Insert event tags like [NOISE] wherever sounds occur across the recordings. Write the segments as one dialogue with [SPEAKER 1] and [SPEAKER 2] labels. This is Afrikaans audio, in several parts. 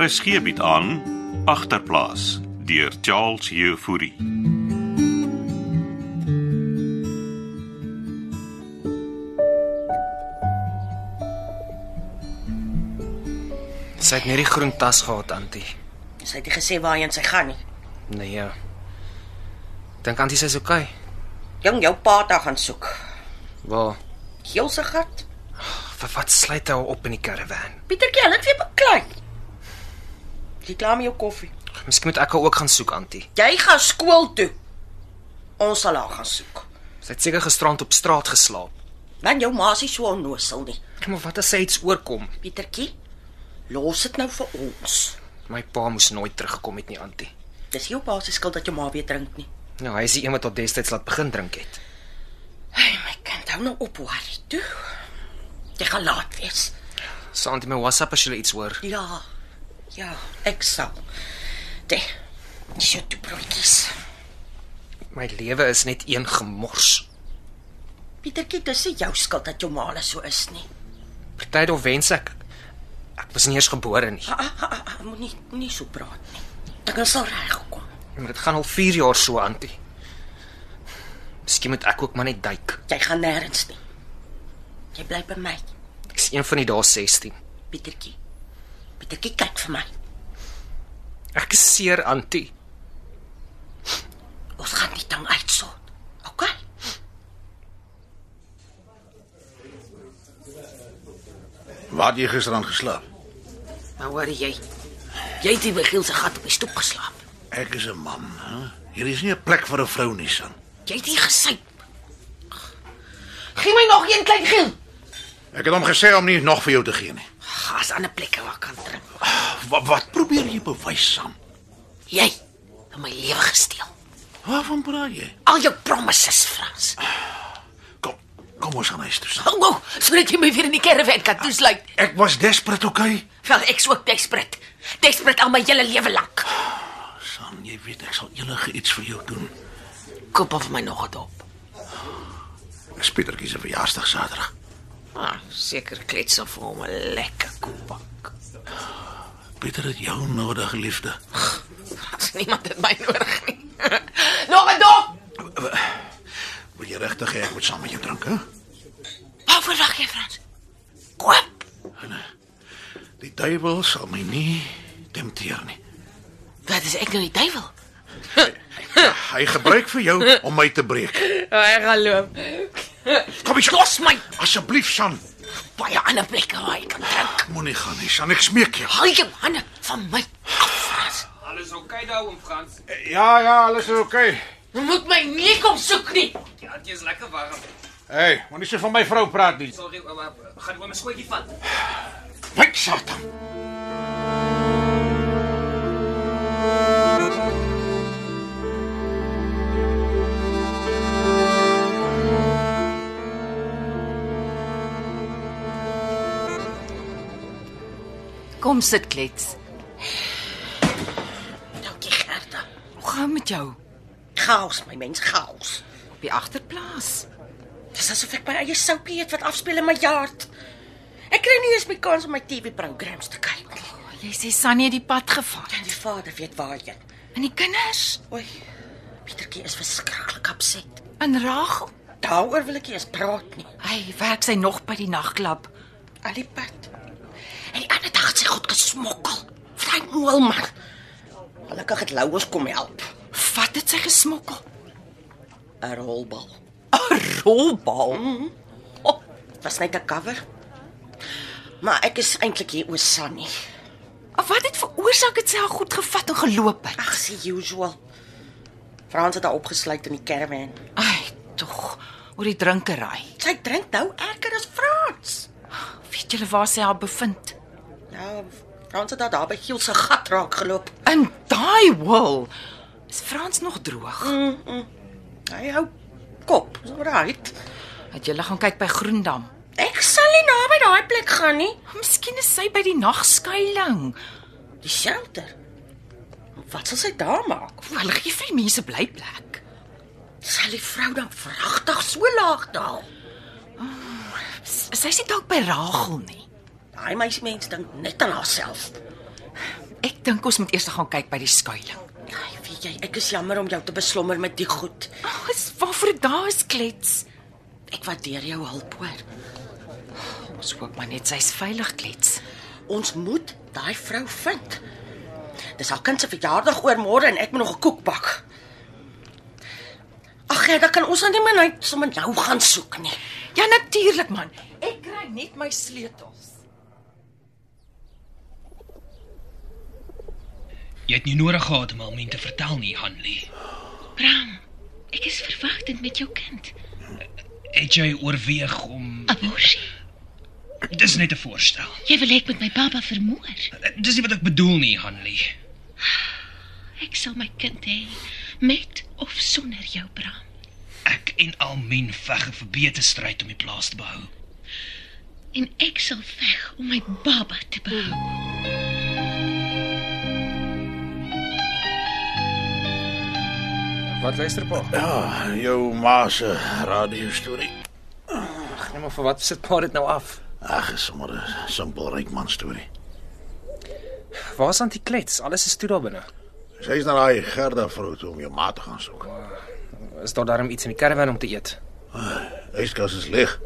[SPEAKER 1] RSG bied Er aan agterplaas deur Charles Jefouri.
[SPEAKER 2] Sy het net die groen tas gehad, Antie.
[SPEAKER 3] Sy het nie gesê waarheen sy gaan nie.
[SPEAKER 2] Nee ja. Dink Antie sy's okay.
[SPEAKER 3] Jong, jou pa het haar gaan soek.
[SPEAKER 2] Waar?
[SPEAKER 3] Heel se gat.
[SPEAKER 2] Vir wat sluit hy haar op in die karavaan?
[SPEAKER 3] Pietertjie, hulle het weer beklei. Jy klaar met jou koffie.
[SPEAKER 2] Miskien moet ek haar ook gaan soek, Antie.
[SPEAKER 3] Jy gaan skool toe. Ons sal haar gaan soek.
[SPEAKER 2] Sy het seker gisterand op straat geslaap.
[SPEAKER 3] Want jou ma is nie so onnosel nie.
[SPEAKER 2] Maar wat as sy iets oorkom?
[SPEAKER 3] Pietertjie, los dit nou vir ons.
[SPEAKER 2] My pa moes nooit teruggekom het nie, Antie.
[SPEAKER 3] Dis jou pa se skuld dat jou ma weer drink nie.
[SPEAKER 2] Nou, hy is die een wat tot destyds laat begin drink het.
[SPEAKER 3] Hey, my kind, hou nou op worry toe. Jy gaan laat wees.
[SPEAKER 2] Sal Antie my WhatsApp as jy iets hoor.
[SPEAKER 3] Ja. Ja, ek sal. Dit. Sy toe broodjies.
[SPEAKER 2] My lewe is net een gemors.
[SPEAKER 3] Pietertjie, dis nie jou skuld dat jou ma hulle so is nie.
[SPEAKER 2] Partydof wens ek ek was nie eers gebore nie.
[SPEAKER 3] Ah, ah, ah, ah, Moenie nie so praat nie. Dinge sal regkom.
[SPEAKER 2] Maar dit gaan al 4 jaar so, Antie. Miskien moet ek ook maar net duik.
[SPEAKER 3] Jy gaan nêrens nie. Jy bly by my,
[SPEAKER 2] Ek is een van die dae 16.
[SPEAKER 3] Pietertjie. Pietertjie kyk vir my.
[SPEAKER 2] Ek is seer, Antie.
[SPEAKER 3] Ons gaan die ding uitsort. OK?
[SPEAKER 4] Waar het jy gisteraan geslaap?
[SPEAKER 3] Nou hoor jy. Jy het die begiel se gat op die stoep geslaap.
[SPEAKER 4] Ek is 'n man, hè. Hier is nie 'n plek vir 'n vrou nie, son.
[SPEAKER 3] Jy het nie gesyp. Gee my nog een klein giel.
[SPEAKER 4] Ek het hom gesê om nie nog vir jou te gee nie.
[SPEAKER 3] Gas aan 'n plek waar ek kan drink.
[SPEAKER 4] Wat wat probeer jy bewys, son?
[SPEAKER 3] Jy het my lewe gesteel.
[SPEAKER 4] Waarvan praat jy?
[SPEAKER 3] Al jou promises, Frans.
[SPEAKER 4] Kom, kom ons gaan huis toe. Sam.
[SPEAKER 3] Hou nou, sodat jy my weer in die karavan kan toesluit.
[SPEAKER 4] Ek was desperate, okay?
[SPEAKER 3] Wel, ek sou desperate. Desperate al my hele lewe lank.
[SPEAKER 4] Son, jy weet ek sal enige iets vir jou doen.
[SPEAKER 3] Koop af my nog 'n dop.
[SPEAKER 4] Dis Pietertjie se verjaarsdag Saterdag.
[SPEAKER 3] Ah, seker klets of vir hom 'n lekker koepak.
[SPEAKER 4] Pieter het jou nodig, liefde.
[SPEAKER 3] As niemand dit my nodig nie. [LAUGHS] nog 'n dop.
[SPEAKER 4] Wil jy regtig hê ek moet saam met jou drink, hè?
[SPEAKER 3] Wat verwag jy, Frans? Koop.
[SPEAKER 4] Die duiwel sal my nie tempteer nie.
[SPEAKER 3] Wat is ek nou die duiwel?
[SPEAKER 4] Hy gebruik vir [LAUGHS] jou om my te breek.
[SPEAKER 3] Hy Oh, gaan loop.
[SPEAKER 4] Kom hier, los my asseblief, son.
[SPEAKER 3] Baie ander plekke waar ek kan drink.
[SPEAKER 4] Moenie gaan nie, San, ek smeek jou.
[SPEAKER 3] Haal jou hande van my af, Frans.
[SPEAKER 5] Alles oukei okay daar oom Frans?
[SPEAKER 4] Ja, ja, alles is oukei. Okay.
[SPEAKER 3] Jy moet my nie kom soek nie.
[SPEAKER 5] Die handjie is lekker warm.
[SPEAKER 4] Hey, moenie so van my vrou praat nie.
[SPEAKER 5] Sorry ouma, gaan oom 'n skootjie vat.
[SPEAKER 4] Wyk Satan.
[SPEAKER 6] Kom sit klets.
[SPEAKER 3] Dankie, Gerda.
[SPEAKER 6] Hoe gaan met jou?
[SPEAKER 3] Chaos, my mens, chaos.
[SPEAKER 6] Op die agterplaas.
[SPEAKER 3] Dis asof ek my eie soupie eet wat afspeel in my hart. Ek kry nie eens my kans om my TV-programme te kyk nie.
[SPEAKER 6] Jy sê Sannie het die pad gevat.
[SPEAKER 3] En die vader weet waarheen.
[SPEAKER 6] En die kinders?
[SPEAKER 3] Oei. Pietertjie is verskriklik opset.
[SPEAKER 6] En Rachel?
[SPEAKER 3] Daaroor wil ek nie eens praat nie.
[SPEAKER 6] Hy werk sy nog by die nagklub.
[SPEAKER 3] Al die pad. En die ander dag het sy goed gesmokkel. Vry moel man. Gelukkig het Louwes kom help.
[SPEAKER 6] Wat het sy gesmokkel?
[SPEAKER 3] 'n Rolbal.
[SPEAKER 6] [LAUGHS] 'n Rolbal.
[SPEAKER 3] Op, oh, was net 'n cover. Maar ek is eintlik hier oor Sunny.
[SPEAKER 6] Of wat het veroorsaak dit sy haar goed gevat en geloop het?
[SPEAKER 3] Ag, the usual. Frans het haar opgesluit in die caravan.
[SPEAKER 6] Ai, tog. Oor die drinkery.
[SPEAKER 3] Sy drink nou erger as Frans.
[SPEAKER 6] Weet julle waar sy haar bevind?
[SPEAKER 3] Ja, Frans het haar daar by Giel se gat raak geloop.
[SPEAKER 6] In daai wil. Is Frans nog droog?
[SPEAKER 3] Hy hou kop. Dis right.
[SPEAKER 6] Het julle gaan kyk by Groendam?
[SPEAKER 3] Ek sal nie naby daai plek gaan nie.
[SPEAKER 6] Miskien is sy by die nagskuiling.
[SPEAKER 3] Die shelter. Wat sal sy daar maak?
[SPEAKER 6] Hoe hulle gee vir die mense blyplek.
[SPEAKER 3] Sal die vrou dan vragtig so laag daal?
[SPEAKER 6] S- Sy is nie dalk by Rachel nie.
[SPEAKER 3] Daai meisie mens dink net aan haarself.
[SPEAKER 6] dink ons moet eers gaan kyk by die skuilings.
[SPEAKER 3] Ai, weet jy, ek is jammer om jou te beslommer met die goed.
[SPEAKER 6] Ag, is waarvoor daar is klets.
[SPEAKER 3] Ek waardeer jou hulp hoor.
[SPEAKER 6] Ons hoop maar net sy's veilig klets.
[SPEAKER 3] Ons moet daai vrou vind. Dis haar kind se verjaardag oor môre en ek moet nog 'n koek bak. Ag, Gerda, kan ons dan nie maar net sommer nou gaan soek nie.
[SPEAKER 6] Ja natuurlik man. Ek kry net my sleutels.
[SPEAKER 7] Jy het nie nodig gehad om hom te vertel nie, Hanlie.
[SPEAKER 8] Bram, ek is verwagtend met jou kind.
[SPEAKER 7] Het jy oorweeg om
[SPEAKER 8] Aborsie.
[SPEAKER 7] Dis net 'n voorstel.
[SPEAKER 8] Jy wil ek met my pappa vermoor.
[SPEAKER 7] Dis nie wat ek bedoel nie, Hanlie.
[SPEAKER 8] Ek sal my kind hê met of sonder jou, Bram.
[SPEAKER 7] Ek en Almien veg 'n verbeter stryd om die plaas te behou.
[SPEAKER 8] En ek sal veg om my baba te behou.
[SPEAKER 2] Wat luister pa?
[SPEAKER 4] Ja, eh, jou ma se radio storie.
[SPEAKER 2] Ag nee, maar vir wat sit pa dit nou af?
[SPEAKER 4] Ag, is sommer 'n simpel ryk man storie.
[SPEAKER 2] Waar's antiklets? Alles is toe daar binne.
[SPEAKER 4] Sy's na daai Gerda vrou toe om jou ma te gaan soek.
[SPEAKER 2] Is daar darm iets in die karavan om te eet?
[SPEAKER 4] Huiskas is leeg.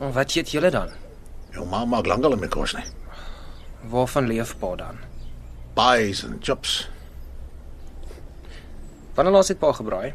[SPEAKER 2] En wat eet julle dan?
[SPEAKER 4] Jou ma maak lankal nie meer kos nie.
[SPEAKER 2] Waarvan leef pa dan?
[SPEAKER 4] Pies en chips.
[SPEAKER 2] Wanneer laas het pa gebraai?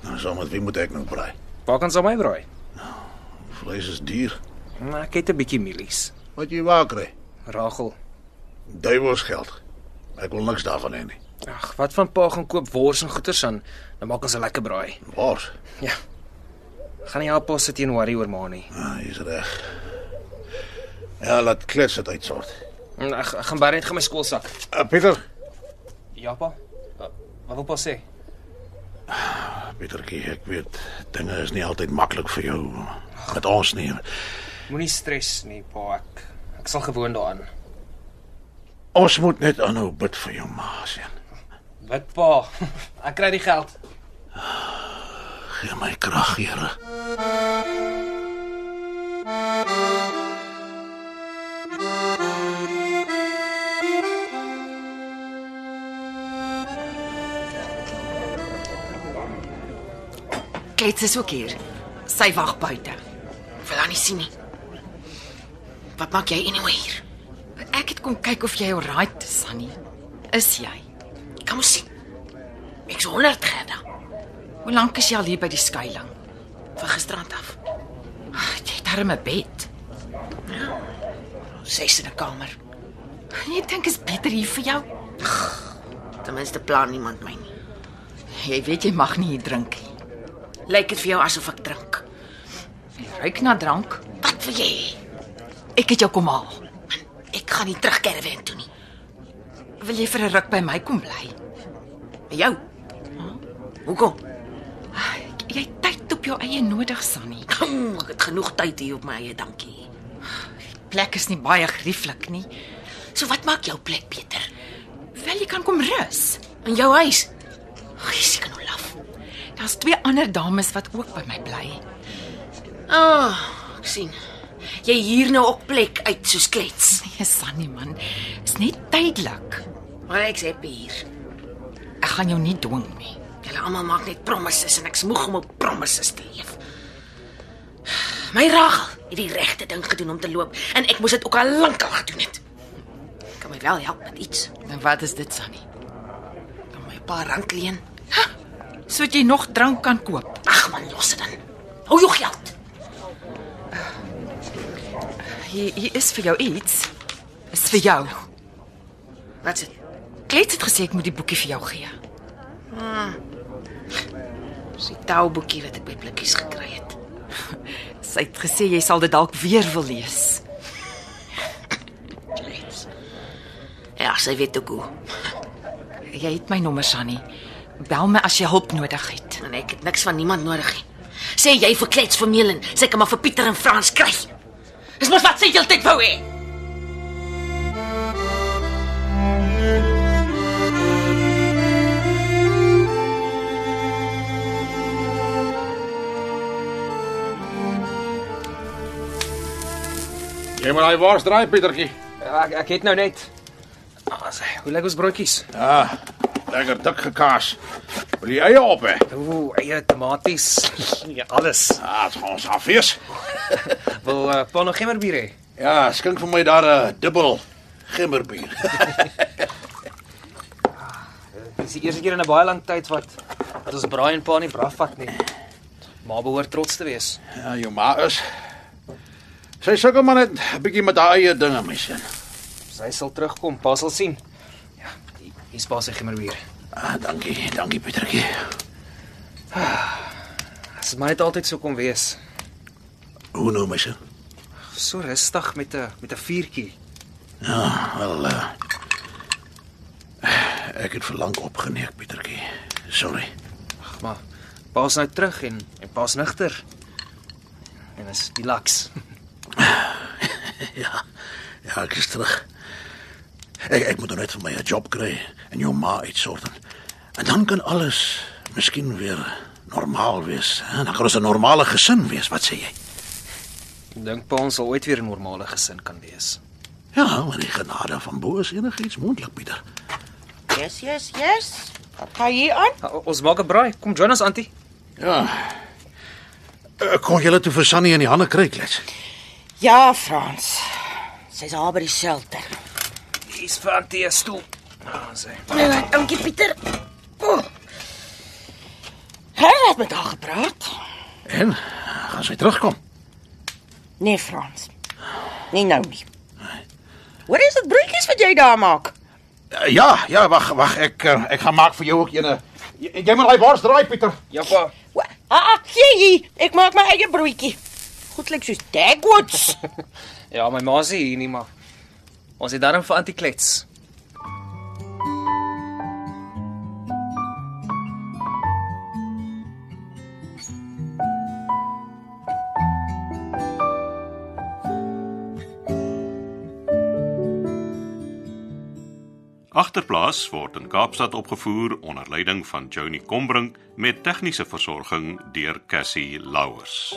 [SPEAKER 4] Nou so met wie moet ek nou braai?
[SPEAKER 2] Pa kan saam my braai.
[SPEAKER 4] Vleis is duur.
[SPEAKER 2] Maar ek het 'n bietjie mielies.
[SPEAKER 4] Wat jy waar kry?
[SPEAKER 2] Ragel.
[SPEAKER 4] Duiwels geld. Ek wil niks daarvan hê nie.
[SPEAKER 2] Ag, wat van pa gaan koop wors en goeters aan? Dan maak ons 'n lekker braai.
[SPEAKER 4] Wars.
[SPEAKER 2] Ja. Gaan nie help ons sit hier en worry oor ma nie.
[SPEAKER 4] Ah, jy's reg. Ja, laat klets dit uitsort.
[SPEAKER 2] En Ek, Mm, ek gaan baie net gaan my skoolsak.
[SPEAKER 4] Uh, Pieter,
[SPEAKER 2] Ja pa. Wat wat wil pa sê?
[SPEAKER 4] Ah, Pietertjie, ek weet dinge is nie altyd maklik vir jou met ons nie.
[SPEAKER 2] Moenie stres nie pa. Ek ek sal gewoond daaraan.
[SPEAKER 4] Ons moet net aanhou bid vir jou ma seun.
[SPEAKER 2] Wat pa? [LAUGHS] Ek kry die geld.
[SPEAKER 4] Gee my krag, Here.
[SPEAKER 6] Klets is ook hier. Sy wag buite.
[SPEAKER 3] Wil haar nie sien nie. Wat maak jy anyway hier?
[SPEAKER 6] Ek het kom kyk of jy alright is, Sunny. Is jy?
[SPEAKER 3] Kom ons sien. Ek's 100 Gerda
[SPEAKER 6] Hoe lank is jy al hier by die skuilings?
[SPEAKER 3] van gisterand af.
[SPEAKER 6] Ag, Jy het darm 'n bed.
[SPEAKER 3] Ses in 'n kamer.
[SPEAKER 6] Jy dink is beter hier vir jou.
[SPEAKER 3] Ten minste plan niemand my nie.
[SPEAKER 6] Jy weet jy mag nie hier drink nie.
[SPEAKER 3] Lyk dit vir jou asof ek drink?
[SPEAKER 6] Jy ruik na drank.
[SPEAKER 3] Wat wil jy? hê?
[SPEAKER 6] Ek het jou kom haal.
[SPEAKER 3] Ek gaan nie terug kerwen toe nie.
[SPEAKER 6] Wil jy vir 'n ruk by my kom bly?
[SPEAKER 3] Met jou. Hoekom?
[SPEAKER 6] Ek- Jy het tyd op jou eie nodig, Sunny.
[SPEAKER 3] Kom, Hm, ek het genoeg tyd hier op my eie, dankie.
[SPEAKER 6] Plek is nie baie grieflik nie.
[SPEAKER 3] So wat maak jou plek beter?
[SPEAKER 6] Wel jy kan kom rus.
[SPEAKER 3] In jou huis. Ag, jy seker nou laf.
[SPEAKER 6] Daar's twee ander dames wat ook by my bly.
[SPEAKER 3] Ah, oh, ek sien. Jy hier nou ook plek uit soos klets.
[SPEAKER 6] Nee, Sunny man, is net tydelik.
[SPEAKER 3] Maar ek's happy hier.
[SPEAKER 6] Ek gaan jou nie dwing nie.
[SPEAKER 3] Julle almal maak net promises en ek's moeg om op promises te leef. My Ragel het die regte ding gedoen om te loop en ek moes dit ook al lankal gedoen het. Kan my wel help met iets?
[SPEAKER 6] En wat is dit, Sunny?
[SPEAKER 3] Kan my 'n paar rand leen?
[SPEAKER 6] Sodat jy nog drank kan koop.
[SPEAKER 3] Ag man, los dit dan. Hou jou geld.
[SPEAKER 6] Hier, hier is vir jou iets. Is vir jou.
[SPEAKER 3] Wat is dit?
[SPEAKER 6] Klets het gesê ek moet die boekie vir jou gee.
[SPEAKER 3] Dis die touboekie wat ek by blikkies gekry het.
[SPEAKER 6] Sy het gesê jy sal dit dalk weer wil lees.
[SPEAKER 3] Klets. Ja, sy weet ook hoe.
[SPEAKER 6] Jy het my nommer, Sunny. Bel my as jy hulp nodig het.
[SPEAKER 3] En ek het niks van niemand nodig nie. Sê jy vir klets vir Melin, sê kan maar vir Pieter en Frans kry. Dis mos wat sy heeltyd wou hê.
[SPEAKER 9] Jy moet daai wors draai, Pietertjie.
[SPEAKER 2] Ja, Ek ek het nou net As, hoe lyk ons broodjies?
[SPEAKER 4] Ah, lekker dik gekaas. Wil jy eie op hè?
[SPEAKER 2] Ooh, eie tomaties, [LAUGHS] ja, alles.
[SPEAKER 4] Ah, dit gaan ons afwees.
[SPEAKER 2] Wil uh, pa nog gemmerbier hê?
[SPEAKER 4] Ja, skink vir my daar 'n dubbel gemmerbier.
[SPEAKER 2] Dis die eerste keer in 'n baie lang tyd wat dat ons braai en pa nie braaf vat nie. Ma behoort trots te wees.
[SPEAKER 4] [LAUGHS] Ja, jou ma is Sy sukkel maar net 'n bietjie met haar eie dinge, my seun.
[SPEAKER 2] Sy sal terugkom, pa sal sien. Ja, hier- hier's pa se gemmerbier.
[SPEAKER 4] Ah, dankie, dankie Pietertjie.
[SPEAKER 2] Dit is maar net altyd so kom wees.
[SPEAKER 4] Hoe nou, my seun?
[SPEAKER 2] So rustig met 'n met 'n vuurtjie.
[SPEAKER 4] Ja, wel. Uh, ek het verlang opgeneek, Pietertjie. Sorry.
[SPEAKER 2] Ag, Maar pa's nou terug en en pa's nigter. En is relax. [LAUGHS]
[SPEAKER 4] Ja. Ja, ek is terug. Ek ek moet nou net vir my 'n job kry en jou ma uitsort. En dan kan alles miskien weer normaal wees. Hè? Dan kan ons 'n normale gesin wees, wat sê jy?
[SPEAKER 2] Dink pa ons sal ooit weer 'n normale gesin kan wees.
[SPEAKER 4] Ja, maar die genade van bo is enigiets moontlik, Pieter.
[SPEAKER 9] Yes, yes, yes. Wat gaan hier aan?
[SPEAKER 2] Ah, o- Ons maak 'n braai. Kom join ons, Antie.
[SPEAKER 4] Ja. Ek Eh, kon julle toe vir Sunny in die hande kry, klets.
[SPEAKER 9] Ja, Frans. Sy's al by die shelter.
[SPEAKER 2] Hier's vir Antie 'n stoel. Ah, sê.
[SPEAKER 9] Nee, dankie Pieter. Oh. Hy het met haar gepraat.
[SPEAKER 4] En gaan sy terugkom?
[SPEAKER 9] Nee, Frans. Nee nou nie. Wat is dit broodjies wat jy daar maak?
[SPEAKER 4] Eh, Ja, ja, wag, wag, ek eh, ek gaan maak vir jou ook eene. Jy, jy moet daai bors draai, Pieter.
[SPEAKER 2] Ja, pa.
[SPEAKER 9] Wa- Ah, ah, gee hier. Ek maak my eie broodjie. Goed lyk soos Dagwoods.
[SPEAKER 2] [LAUGHS] Ja, my ma sê hier nie, maar ons het daarom vir Antie klets.
[SPEAKER 1] Agterplaas word in Kaapstad opgevoer onder leiding van Johnny Combrink met tegniese versorging deur Cassie Louws.